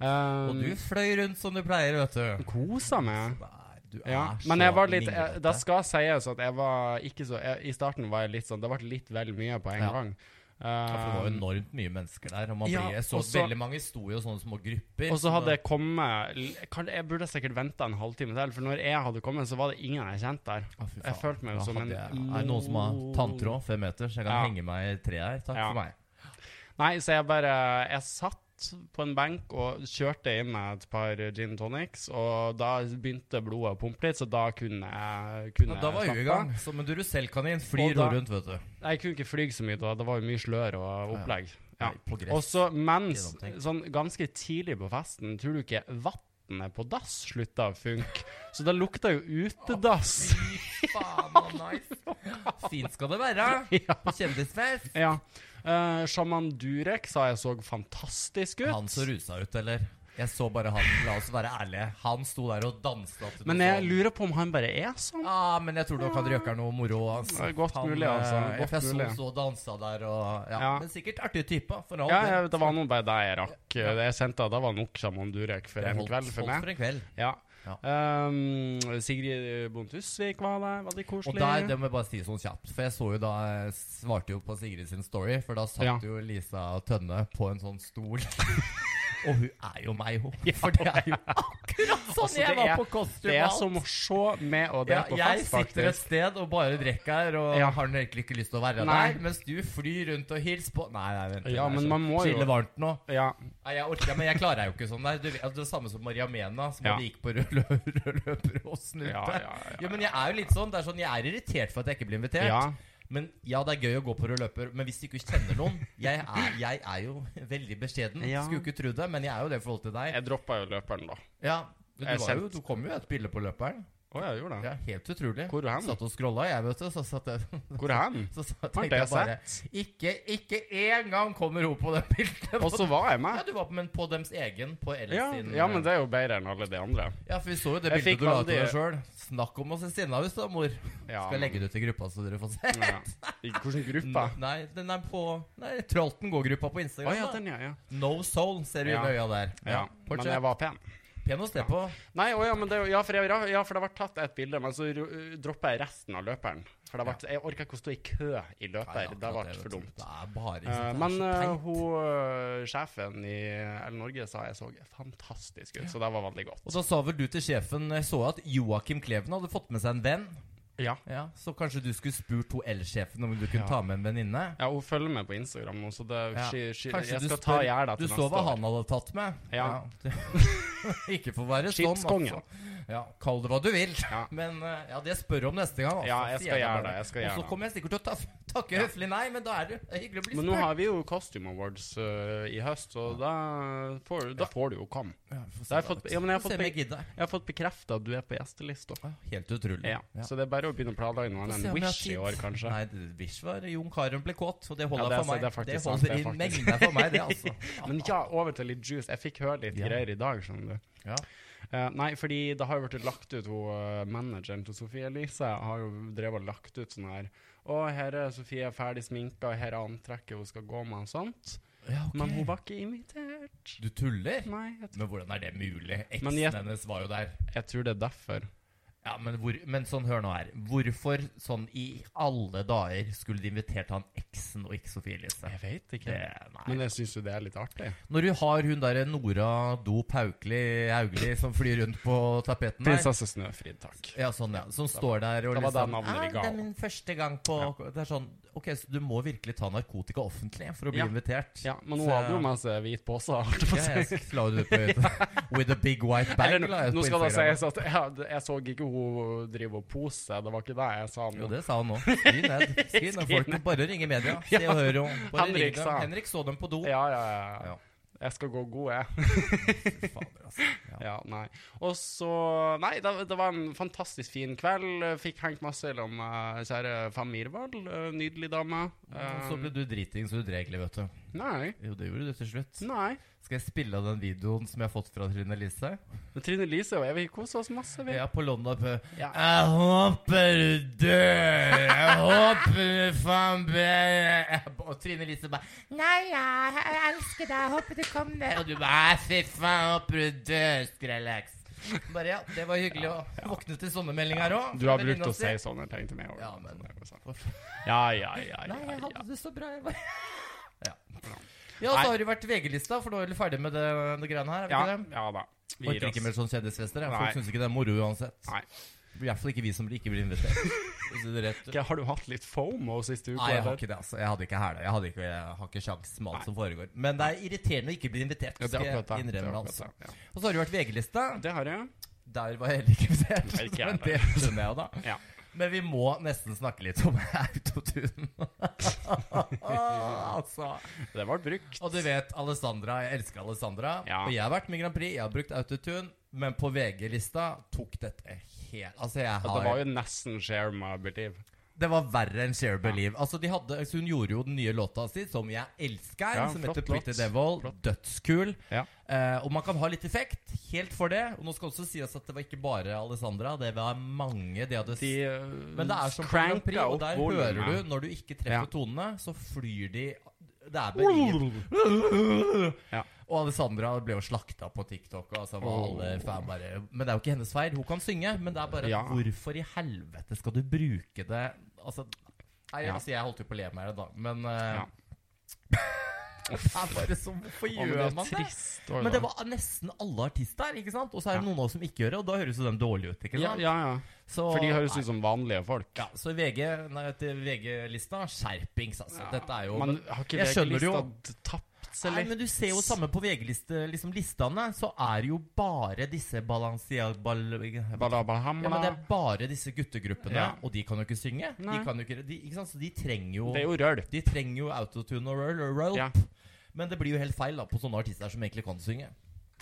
Og du Um, fløy rundt som du pleier, vet du. kosa meg. Nei, du er Ja, så men jeg var litt eh, minglete. jeg, Det skal sies at jeg var ikke så jeg, I starten var jeg litt sånn Det ble litt vel mye på en Ja. gang. Ja, for det var jo Um, enormt mye mennesker der. Og man Ja, blir, jeg så og så- veldig mange sto i sånne små grupper. og så hadde jeg kommet l- kan- Jeg burde sikkert venta en halvtime til, for når jeg hadde kommet, så var det ingen jeg kjente der. Å, fy jeg faen. følte meg jo Da som hadde en jeg, Er det noen som har tanntråd, fem meter, så jeg kan Ja. henge meg i treet her? Takk Ja. for meg. Nei, så jeg bare Jeg satt på en benk og kjørte inn med et par gin tonics, og da begynte blodet å pumpe litt, så da kunne jeg kunne Ja, da var jeg hun i slappe gang. Som en Duracell-kanin flyr Og da- hun rundt, vet du. Nei, Jeg kunne ikke fly så mye da, det var jo mye slør og opplegg. Ja. Nei, på gress. Og så mens, Gjennomtenkt. sånn ganske tidlig på festen, tror du ikke vannet på dass slutta å funke? Så det lukta jo utedass. Fy faen, så nice. Fint skal det være Ja. på kjendisfest. ja. Eh, Sjaman Durek sa jeg så fantastisk ut. Han så rusa ut, eller? Jeg så bare han, la oss være ærlige. Han sto der og dansa til noe Men jeg sånn. lurer på om han bare er sånn. Ja, men jeg tror nok han røker noe moro. Det Altså. er godt han, mulig, altså. eh, Godt for jeg mulig. så så dansa der og ja. Ja. Men sikkert artig type. For all Ja, del. jeg- det var nå bare det jeg rakk. Det jeg sendte, det var nok Sjaman Durek for Det er en holdt- kveld for holdt meg. for en kveld. Ja. Ja. Um, Sigrid Bonde Tusvik var der, veldig Og koselig. der, det må jeg bare si sånn kjapt, for jeg så jo da jeg svarte jo på Sigrid sin story, for da satt Ja. jo Lisa Tønne på en sånn *laughs* stol. Og hun er jo meg, hun. For det er jo akkurat sånn Altså, jeg det var er- på costume. Det er alt. som å se med og det ja, på jeg fest, sitter et faktisk. sted og bare drikker og Ja. har egentlig ikke lyst til å være Nei. der, mens du flyr rundt og hilser på Nei, nei, vent. Ja, det er men så- man må jo- Skille varmt nå. Ja. Nei, jeg orker, men jeg klarer jo ikke sånn der. Du, vet- altså, det er samme som Maria Mena, som Ja. hadde gikk på rød lø- rød løper og snudde. Ja, ja, ja, Jo, men *laughs* jeg er jo litt sånn, det er sånn, jeg er irritert for at jeg ikke blir invitert. Ja. Men ja, det er gøy å gå på rød løper, men hvis du ikke kjenner noen Jeg er, jeg er jo veldig beskjeden, Ja. skulle ikke tro det, men jeg er jo det i forhold til deg. Jeg droppa jo løperen, da. Ja, men Jeg du, var jo, kjente- du kom jo et bilde på løperen. Å ja, gjorde det? Ja, helt utrolig. Hvor hen? Satt og scrolla, jeg, vet du. Så satt jeg *laughs* Hvor hen? Så satt, Har tenkte jeg det bare Ikke, ikke én gang kommer hun på det bildet! Og så var jeg Ja, med. du var på, men på dems egen. På Ellen Ja, sin ja, men det er jo bedre enn alle de andre. Ja, for vi så jo det Jeg bildet fikk du la ut av veldig- deg sjøl. Snakk om å se sinna ut, da, mor. Ja, Skal jeg legge det ut i gruppa, så dere får se. Ja. *laughs* I hvilken gruppe? Nei, den er på Nei, Trolten går-gruppa på Å Instagram. ja, da. den, ja. ja. No soul, ser du Ja. i øya der. ja. Men fortsett. jeg var pen. Pen å se på. Nei, å ja, men det, ja, for jeg, ja, for det har vært tatt et bilde, men så ro- droppa jeg resten av løperen. For det har vært, jeg orka ikke å stå i kø i løper. Nei, det har akkurat vært vet for du. dumt. Det er bare ikke Eh, sant, det er men så eh, teit. hun, eh, sjefen i L Norge sa jeg så fantastisk ut, så det var veldig godt. Og så sa vel du til sjefen Jeg så at Joakim Kleven hadde fått med seg en venn. Ja. Ja, Så kanskje du skulle spurt hun L-sjefen om du kunne Ja. ta med en venninne? ja, hun følger med på Instagram nå, så det, Ja. she, she, Kanskje jeg du skal spør- ta gjerda Du til så neste hva år. han hadde tatt med? Ja. *laughs* ikke for å være sånn, Skipskongen. Ja, kall det hva du vil. Ja. Men eh, ja, det spør om neste gang. Altså. Ja, jeg Sier skal deg gjøre bare. det, jeg skal gjøre Og det. så kommer jeg sikkert til å ta, takke høflig nei, men da er det hyggelig å bli Men nå spurt. har vi jo Costume Awards eh, i høst, så da får, da får du jo komme. Ja, vi får se Da har jeg da, fått- vet du. ja, men jeg har Får fått se om jeg gidder. Jeg har fått bekrefta at du er på gjestelista. Ja, Helt utrolig. Ja. Så det er bare å begynne å planlegge noe Få annet se enn om jeg har Wish i tid. år, kanskje. Nei, det- Wish var Jon Carew ble kåt, og det Ja, holder det er- for meg. det er faktisk det sant, holder det er i faktisk- mengden for meg, det, *laughs* altså. Men ja, over til litt juice. Jeg fikk høre litt Ja. greier i dag, skjønner du. Ja. Eh, nei, fordi det har jo blitt lagt ut hun eh, manageren til Sofie Elise har jo drevet og lagt ut sånn her Å, her er Sofie ferdig sminka, og her er antrekket hun skal gå med, og sånt. Ja, ok. Men hun var ikke invitert. Du tuller? Nei, jeg, Men hvordan er det mulig? Eksen Men jeg- hennes var jo der. jeg tror det er derfor. Ja, men, hvor, men sånn, hør nå her. Hvorfor sånn i alle dager skulle de invitert han eksen og ikke Sofie Elise? Jeg vet ikke. Det, nei. Men jeg syns jo det er litt artig. Når du har hun derre Nora Dop Haukeli Haugli som flyr rundt på tapeten der Prinsesse Snøfrid, takk. ja, sånn, ja. Som står der og Det var det liksom navnet de ga «Ah, Det er henne». min første gang på Det er sånn Ok, så du må virkelig ta narkotika offentlig for å bli Ja. invitert. Ja, men Så- hun hadde jo med seg hvit pose. holdt jeg på å si. Ja, jeg la det ut på *laughs* With a big white bag. Eller, la jeg ut nå på skal det Instagram. sies at jeg, jeg så ikke hun drive og pose, det var ikke det jeg sa. Jo, nå. det sa han nå. Skriv *laughs* ned. Skriv ned, folk. Skriv ned. Bare ringe media. Se og hør. Og bare Henrik ring dem. sa han. Henrik så dem på do. Ja, ja, ja, Ja. Jeg skal gå god, jeg. Fy fader, altså. Ja. *laughs* Ja, nei. Og så Nei, det, det var en fantastisk fin kveld. Fikk hengt masse sammen med kjære Fam Mirvald. eh, Nydelig dame. Og Så Eh, ble du driting, så du drev egentlig, vet du. Nei. Jo, det gjorde du til slutt. Nei. Skal jeg spille av den videoen som jeg har fått fra Trine Lise? Men Trine Lise og jeg vi kosa oss masse. Vi. Ja, på London Pø. Ja. Jeg håper du dør! Jeg håper du faen blir Og Trine Lise bare Nei, jeg, jeg elsker deg. Jeg håper du kommer ned. Og du bare «Æ, Fy faen, jeg håper du dør, Skrellex. Bare ja, det var hyggelig å våkne til sånne meldinger òg. Du har brukt å si sånne ting til meg. også. Ja, men- ja, ja, ja, ja, Nei, jeg ja, hadde det så bra. Jeg bare Ja. Ja, så Nei. har du vært VG-lista, for nå er du ferdig med det, det greiene her. er vi ja. ikke det? Ja da. Vi Orker gir ikke oss. mer sånn kjendisfester. jeg. Nei. Folk syns ikke det er moro uansett. Nei. I hvert fall ikke vi som ikke blir invitert. For å si det rett. Ok, Har du hatt litt fomo siste uka? Nei, jeg eller? har ikke det. altså Jeg hadde ikke hæla. Jeg, hadde ikke- jeg har ikke sjans med alt som foregår. Men det er irriterende å ikke bli invitert. Ja, det skal er jeg akkurat det. det, er innrømme, akkurat altså. det. Og så har det vært Ja. VG-lista. det har jeg. Der var jeg heller ikke invitert. Ikke jeg Men heller. det skjønner jeg jo, da. Ja. Men vi må nesten snakke litt om *laughs* autotune. *laughs* altså. Det ble brukt. Og du vet Alessandra, jeg elsker Alessandra. Ja. Og jeg har vært med i Grand Prix, jeg har brukt autotune. Men på VG-lista tok dette helt Altså, jeg Ja, har Det var jo nesten share my believe. Det var verre enn Share Believe. Altså, de hadde, altså, hun gjorde jo den nye låta si, som jeg elsker, Ja, som flott heter låt. Pretty Devil. Dødskul. Ja. Eh, og man kan ha litt effekt, helt for det. Og nå skal også sies at det var ikke bare Alessandra, det var mange de hadde s- De uh, Men det er som på Grand Prix, og der hører du, når du ikke treffer Ja. tonene, så flyr de Det er berget. Ja. Og Alessandra ble jo slakta på TikTok. Og altså var Åh. alle fan bare Men det er jo ikke hennes feil. Hun kan synge, men det er bare Ja. Hvorfor i helvete skal du bruke det Altså Nei, Ja. altså jeg holdt jo på å le med det, da, men eh, Ja. *laughs* Det er bare sånn Hvorfor gjør man det? Trist, også, Men det da. var nesten alle artister, ikke sant? Og så er det noen av oss som ikke gjør det, og da høres jo de dårlige ut. ikke ja, sant? ja, ja. Så, For de høres nei. ut som vanlige folk. Ja, så VG, nei, til VG-lista skjerpings, altså. Dette er jo Men men, har ikke jeg skjønner det jo. VG-lista d- tapt seg Nei, litt? men du ser jo samme på VG-listene, liksom listene, så er det jo bare disse balancia... Bal, ja, men det Balabahamla. er bare disse guttegruppene, Ja. og de kan jo ikke synge. De Nei. kan jo ikke, de, ikke sant? Så de trenger jo, Det er jo røl. De trenger jo autotune og roll. roll. Ja. Men det blir jo helt feil da på sånne artister som egentlig kan synge.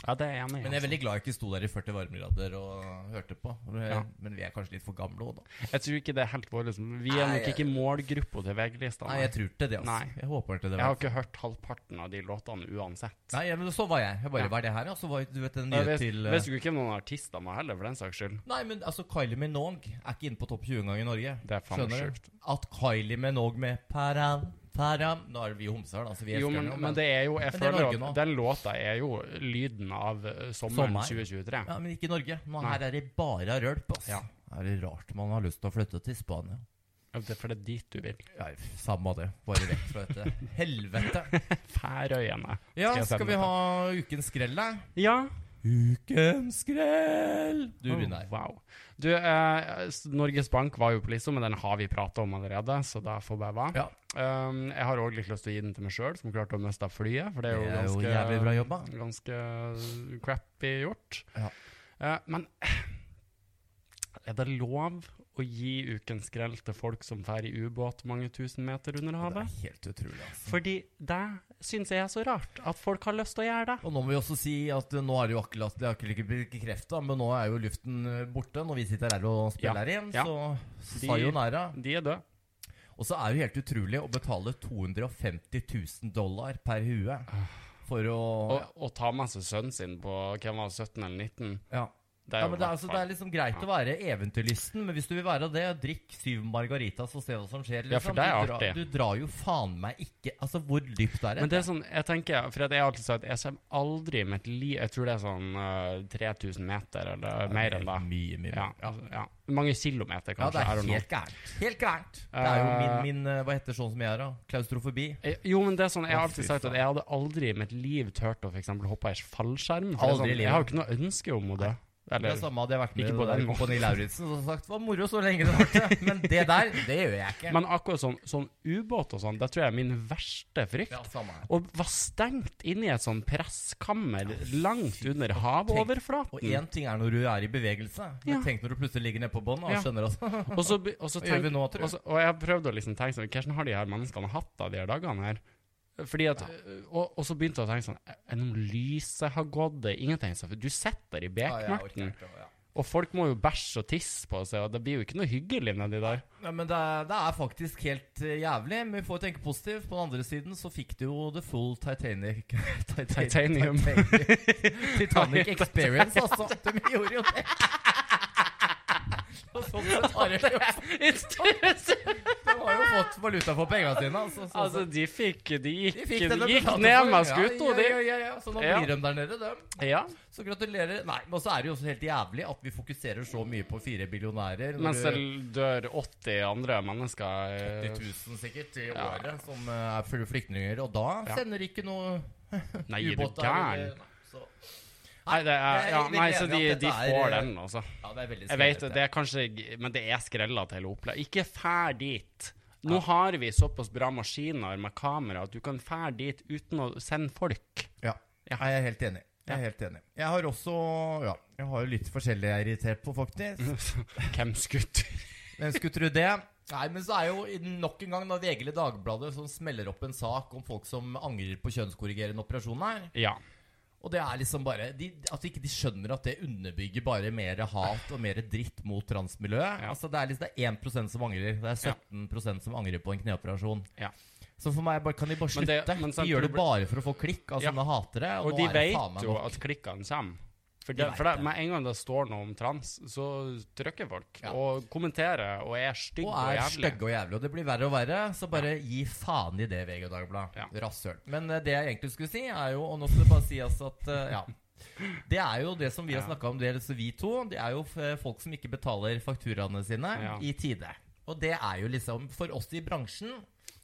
Ja, det er jeg enig i. Men jeg er altså. veldig glad jeg ikke sto der i 40 varmegrader og hørte på. Ja. Men vi er kanskje litt for gamle òg, da. Jeg tror ikke det er helt vår liksom. Vi er Nei, nok ikke målgruppa til VG-lista. Nei, jeg tror ikke det. altså Nei. Jeg håper ikke det. Jeg har ikke hørt halvparten av de låtene uansett. Nei, ja, men så var jeg. Jeg bare Ja. var det her, og så var jeg- du vet den Jeg nye vet, til eh, vet jo ikke hvem noen artister må heller, for den saks skyld. Nei, men altså, Kylie Minogue er ikke inne på topp 20 engang i Norge. Det er faen Skjønner du? sjukt. At Kylie Minogue med param, param Nå er vi jo homser, da, så vi elsker Jo, men, henne, men det er jo Jeg Men det er føler Norge at nå. den låta er jo lyden av eh, sommeren Sommer. 2023. Ja, men ikke i Norge. Nå Nei. her er det bare rølp. ass. Ja. Er det rart man har lyst til å flytte til Spania? Det er for det er dit du vil. Ja, samme det. Bare vekk fra *laughs* dette helvete. Færøyene. Ja, Skal skal jeg sende vi det? ha ukens skrell, da? Ja. Ukens skrell! Du, Oh, Runar. wow. Du, eh, s- Norges Bank var jo på lista, men den har vi prata om allerede, så da får bare være. Ja. Um, jeg har òg litt lyst til å gi den til meg sjøl, som klarte å miste flyet. For det er jo, Det er jo ganske, jævlig bra jobba. ganske uh, crappy gjort. Ja. Eh, men *clears throat* er det lov å gi ukens skrell til folk som drar i ubåt mange tusen meter under Det er havet? helt utrolig, altså. Fordi det syns jeg er så rart, at folk har lyst til å gjøre det. Og nå må vi også si at eh, nå er det jo akkurat Det er akkurat ikke blitt bekrefta, men nå er jo luften eh, borte når vi sitter her og Ja. spiller her igjen. Ja. Så De- sayonara. De er døde. Og så er det jo helt utrolig å betale 250 000 dollar per hue for å Og, og ta med seg sønnen sin på hvem var det, 17 eller 19. ja. Det ja, men jo det er, hvert altså, fall- det er liksom greit å være eventyrlysten, men hvis du vil være det, drikk syv margaritas og se hva som skjer. Liksom. Ja, for det er du, artig. drar, du drar jo faen meg ikke Altså, hvor dypt er det? Men det er sånn, jeg tenker, for at jeg har alltid sagt Jeg kommer aldri i mitt liv Jeg tror det er sånn eh, 3000 meter eller mer enn det. Mye, mye. Ja, altså, ja. Mange Ja, det kilometer, kanskje. I er don't know. helt gærent. Helt gærent. Det er jo min, Eh, min eh, Hva heter sånn som jeg er, da? Klaustrofobi. Eh, Jo, men det er sånn, Jeg har Å, alltid fy sagt at faen. jeg hadde aldri i mitt liv turt å for eksempel hoppe i en fallskjerm. For det er Aldri i sånn, livet. altså, jeg har jo ikke noe ønske om å dø. Det er Eller, samme hadde jeg vært med Ikke på der den måten. Kompani Lauritzen og sagt Det var moro så lenge det varte, men det der, det gjør jeg ikke. men akkurat sånn, sånn ubåt og sånn, det tror jeg er min verste frykt. ja, samme her. Å være stengt inne i et sånn presskammer langt under havoverflaten. Og én ting er når du er i bevegelse, men Ja. tenk når du plutselig ligger nede på bånn og Ja. skjønner at Og så, be- og så Hva gjør tenk, vi nå, tror du? og så- og jeg har prøvd å liksom tenke sånn Hvordan har de her menneskene hatt det de her dagene her? Fordi at, øh, og, og så begynte jeg å tenke sånn Er det noe lyset har gått? Det er ingenting. Så du sitter i Ja, jeg orker bekmørken, ikke, ja. og folk må jo bæsje og tisse på seg, og det blir jo ikke noe hyggelig *laughs* nedi der. Nei, men det er, det er faktisk helt eh, jævlig, men vi får tenke positivt. På den andre siden så fikk du jo the full Titanic *laughs* Titan- Titanium. Titanic, *laughs* Titanic experience, altså. De gjorde jo det. Og sånn sett har de jo- de har jo fått valuta for pengene sine. Altså, sånn altså, sett. de fikk De gikk, De de fikk det de gikk betalte ned for. med skuta, ja, ja, de. ja, ja, ja. Så nå Ja. blir de der nede, dem. Ja. Så gratulerer. Nei, men så er det jo også helt jævlig at vi fokuserer så mye på fire billionærer. når Mens det du- dør 80 andre 80 mennesker. eh, 000 sikkert i Ja. året som eh, er fly- flyktninger, og da Ja. sender de ikke noe Nei, er du ubåter. gæren? eller- Nei, så- Nei, det er, Jeg er ja, veldig nei, så enig de, at dette de er, får eh, den, altså. Ja, det er veldig Jeg vet skremmende. det, er kanskje Men det er skrella til hele opplegget. Ikke fær dit. Nå har vi såpass bra maskiner med kamera at du kan fær dit uten å sende *laughs* folk. Ja. Ja. Nei, Jeg er helt enig. Jeg er helt enig. Jeg har også Ja, jeg har jo litt forskjellig jeg er irritert på, faktisk. *laughs* Hvem skutt? Hvem skulle tro det? Nei, men så er jo i- nok en gang da VG eller Dagbladet som smeller opp en sak om folk som angrer på kjønnskorrigerende operasjon her. Ja. Og det er liksom bare de, At ikke de skjønner at det underbygger bare mer hat og mer dritt mot transmiljøet. Ja. Altså Det er liksom det er 1 som angrer. Det er 17 som angrer på en kneoperasjon. Ja. Så for meg bare, kan de bare Men slutte. det- men sant, de gjør du det blir- bare for å få klikk av Ja. sånne hatere. Og, Og nå de er det faen vet meg jo nok. at klikkene kommer. For, De det, vet for det, det. med en gang det står noe om trans, så trykker folk. Ja. Og kommenterer og er stygge Og og, er jævlig. stygge og jævlige. Og det blir verre og verre. Så bare gi faen i det, VG og Dagbladet. Ja. Rasshøl. Men eh, det jeg egentlig skulle si, er jo Og nå skal det bare sies at eh, Ja. Det er jo det som vi har Ja. snakka om, det er altså vi to. Det er jo eh, folk som ikke betaler fakturaene sine Ja. i tide. Og det er jo liksom For oss i bransjen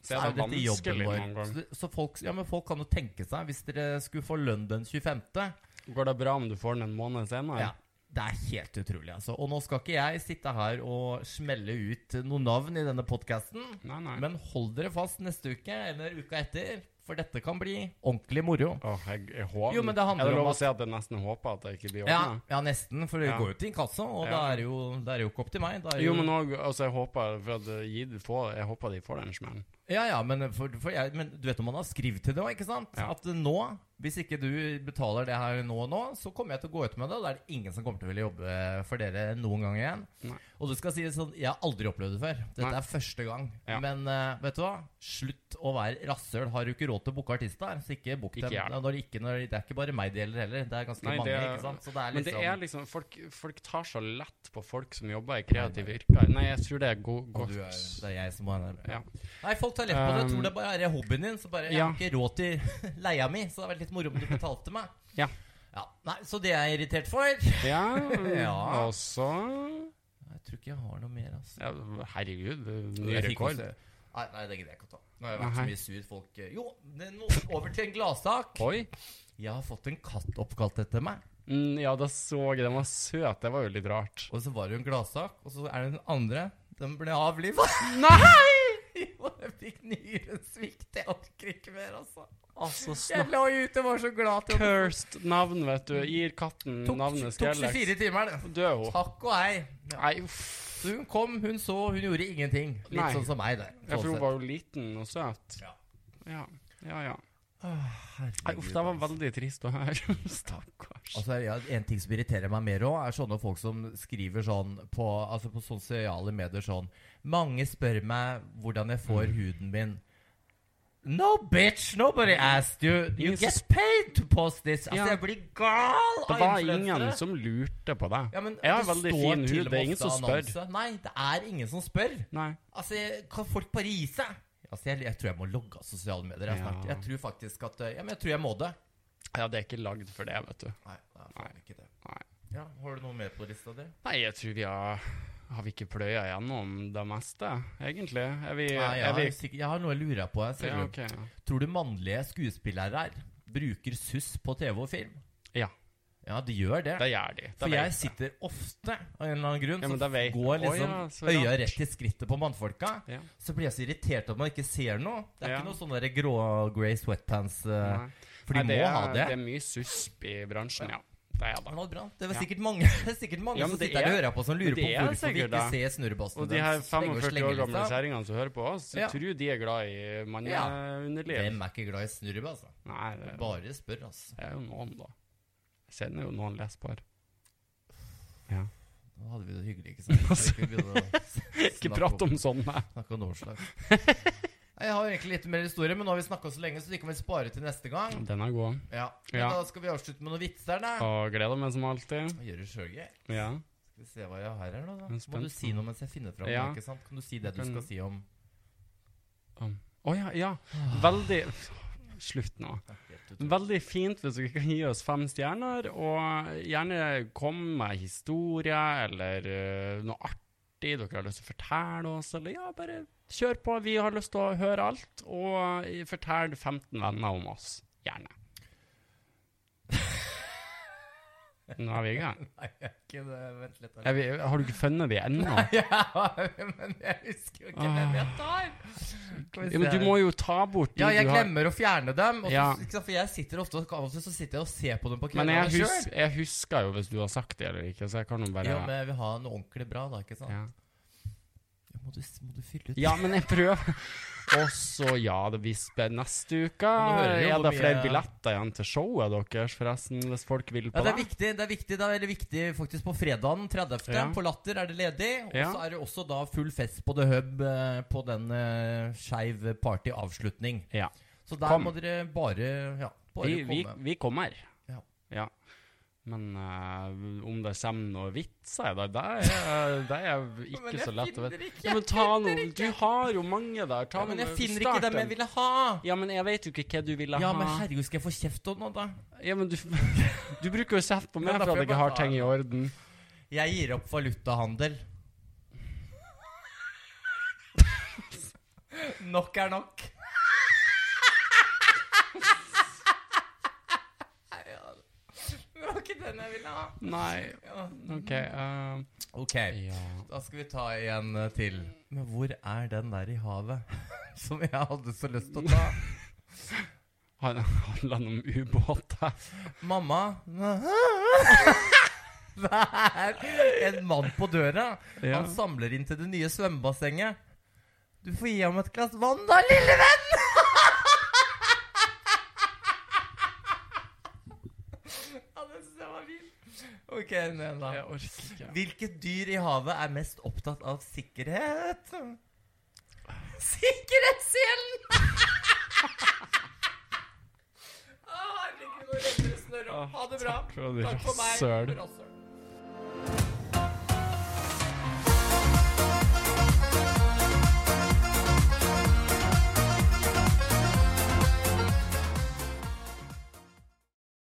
Så er det jo dette jobben vanskelig vår. noen gang. Så, så folk, ja, men folk kan jo tenke seg, hvis dere skulle få lønn den 25. Går det bra om du får den en måned senere? Ja. Det er helt utrolig, altså. Og nå skal ikke jeg sitte her og smelle ut noen navn i denne podkasten. Nei, nei. Men hold dere fast neste uke eller uka etter, For dette kan bli ordentlig moro. Åh, jeg, jeg håper. Jo, men det handler er det om lov at- å si at jeg nesten håper at jeg ikke blir Ja, ordna? ja nesten, for det Ja. går jo til inkasso, og Ja. da er det jo, da er det jo ikke opp til meg. Da er det Jo, men òg altså, Jeg håper for at eh, gi- få- jeg håper de får den smellen. Ja, ja, men, for, for jeg, men du vet om man har skrevet til det òg, ikke sant? Ja. At nå, hvis ikke du betaler det her nå og nå, så kommer jeg til å gå ut med det, og da er det ingen som kommer til å ville jobbe for dere noen gang igjen. Nei. Og du skal si det sånn, jeg har aldri opplevd det før. Dette Nei. er første gang. Ja. Men eh, vet du hva? Slutt å være rasssøl. Har du ikke råd til å booke artister, så ikke book Ikke dem. gjør det. Når det, ikke, når det, det er ikke bare meg det gjelder heller. Det er ganske Nei, det mange. er- ikke sant? Så det er Men det liksom er liksom Folk, folk tar så lett på folk som jobber i kreative yrker. Nei, jeg tror det er go Og godt. du er, det er jeg som har den. Ja. Nei, folk tar lett på det. Jeg Um, tror det bare er hobbyen din. Så bare, Jeg har ja. ikke råd til *laughs* leia mi, så det hadde vært litt moro om du betalte meg. Ja. Ja, Nei, Så det er jeg irritert for. Jeg ja, *laughs* Ja. og så tror ikke jeg har noe mer, altså. ja, Herregud, det er ny Jeg fikk rekord. også- Nei, nei, det gidder jeg ikke å ta. Nå har jeg vært så Nei. mye sur folk eh, Jo, det er noe- over til en gladsak. Oi. Jeg har fått en katt oppkalt etter meg. Mm, ja, da så jeg den var søt. Det var jo litt rart. Og så var det jo en gladsak, og så er det den andre. Den ble avliva. Nei! *laughs* Jo, jeg fikk nyresvikt. Jeg orker ikke mer, altså. Altså, Jeg lå ute og var så glad til å Cursed navn, vet du. Gir katten Tok, navnet tok Skrellex. 24 timer, det. Død hun. Takk og hei. Ja. Nei, uff. Så hun kom, hun så, hun gjorde ingenting. Litt Nei. sånn som meg, der. Jeg tror Sånn hun var jo liten og søt. Ja. Ja, ja. ja. sett. Nei, uff, det var veldig trist å høre. *laughs* Stakkars. Altså, ja, En ting som irriterer meg mer òg, er sånne folk som skriver sånn på, altså på sosiale medier sånn Mange spør meg hvordan jeg Mm. får huden min. No bitch! Nobody asked you! You Ingen som get paid to post this! Altså, Ja. jeg blir gal Det av var influensere. ingen som lurte på deg. ja, men, Jeg har det veldig står fin til hud, og det med er ingen som ofte spør. annonse. Nei, det er ingen som spør. Nei. Altså, jeg- kan folk bare gi seg? Altså, jeg, jeg tror jeg må logge av sosiale medier. Jeg, Ja. snart. jeg tror faktisk at eh, Ja, men jeg tror jeg må det. Ja, det er ikke lagd for det, vet du. Nei, det er faen ikke det. Nei. Ja, Har du noe mer på lista di? Nei, jeg tror vi har Har vi ikke pløya gjennom det meste, egentlig? Er vi, Nei, jeg, er vi har sikkert, jeg har noe jeg lurer på. her, ser ja, du. ok. Tror du mannlige skuespillere her bruker suss på TV og film? ja, Ja, de gjør det. det gjør de. Det For vet jeg sitter ofte av en eller annen grunn, Ja, men så det vet- går Å, liksom ja, så øya rart. rett til skrittet på mannfolka. Ja. Så blir jeg så irritert at man ikke ser noe. Det er Ja. ikke noe sånn der grå grey sweatpants eh, Nei. For de Nei, må er, ha Det er mye susp i bransjen, ja. Det er Det det. var bra. Det var Ja. sikkert mange, *laughs* det er sikkert mange Ja, som men det sitter her og er- hører på, som lurer det på er hvorfor vi sikkert ikke det. ser snurrebassen. Og de her deres. Slenger og 45 slenger år gamle lista. kjerringene som hører på oss, jeg Ja. tror de er glad i manneunderliv. Hvem er ikke glad i snurrebass? da? Nei, det er- Bare spør, altså. det er jo noen, da. Jeg kjenner jo noen lesbar. Ja. Da hadde vi det hyggelig, *laughs* ikke sant? Så vi begynner å Ikke snakke prat om sånn, sånne. *laughs* Snakke om Norslag. Jeg har egentlig litt mer historie, men nå har vi snakka så lenge, så de kan vi spare til neste gang. Den er god. Ja. Men Ja. Da skal vi avslutte med noen vitser, da. Og gleder meg som alltid. Jeg Gjør det sjøl, jeg. Ja. Skal vi se hva jeg har her, nå, Jeg er da. Må spent. du si noe mens jeg finner fram? Ja. Ikke sant? Kan du si det du Kan- skal si om Å ja, ja. Veldig Slutt nå. Veldig fint hvis dere kan gi oss fem stjerner, og gjerne kom med historier eller eh, noe artig dere har lyst til å fortelle oss, eller ja, bare kjør på. Vi har lyst til å høre alt, og eh, fortell 15 venner om oss. *laughs* Gjerne. Nå er vi i gang. Nei, jeg er ikke det. Vent litt. da. Er vi, har du ikke funnet de ennå? *laughs* Ja, men jeg husker jo ikke hvem jeg tar. Skal vi Ah. Ja, men se du må jo ta bort de ja, jeg du har. glemmer å fjerne dem. Og så, Ja. ikke sant, for jeg sitter ofte og, av og til så sitter jeg og ser på dem på Men kveldene jeg, sjøl. hus jeg husker jo hvis du har sagt det eller ikke, så jeg kan jo bare Ja, men jeg vil ha noe ordentlig bra, da. ikke sant? ja. Ja, må, du, må du fylle ut ja, men jeg prøver. Og så, ja, det blir spe- neste uke. nå hører vi jo Er hvor det mye- flere billetter igjen til showet deres, forresten, hvis folk vil Ja, på det er viktig. Det er viktig, det er veldig viktig faktisk på fredagen 30. Ja. På Latter er det ledig. Og så Ja. er det også da full fest på The Hub eh, på den eh, skeiv party-avslutning. Ja. Så der Kom. må dere bare Ja, bare Vi, vi, komme. vi kommer. Ja. Ja. Men eh, om det kommer noen vitser, da, det er, det *laughs* er ikke så lett å vite. Ja, men ta noe. Du har jo mange der. Ta Ja, men jeg noe- finner start ikke dem jeg en. ville ha! Ja, men jeg vet jo ikke hva du ville Ja, ha. men herregud, skal jeg få kjeft av noe, da? Ja, men du, du *laughs* bruker jo kjeft på meg Men da får for at jeg jeg ikke bare har ta ting i orden. Jeg gir opp valutahandel. *laughs* nok er nok. Ja, Det var ikke den jeg ville ha. Nei, Ja. OK eh, Ok, Ja. da skal vi ta en eh, til. *laughs* Men hvor er den der i havet som jeg hadde så lyst til å ta? Han handla om ubåter. Mamma *laughs* Det er en mann på døra. Ja. Han samler inn til det nye svømmebassenget. Du får gi ham et glass vann, da, lille venn! *laughs* ja, det syns jeg var fint. OK, en igjen, da. orker ikke. Hvilket dyr i havet er mest opptatt av sikkerhet? Sikkerhetsselen! Å, herregud, nå renner det snørr opp. Ha det bra. Takk for at du Takk for meg. rasshøl. Rasshøl.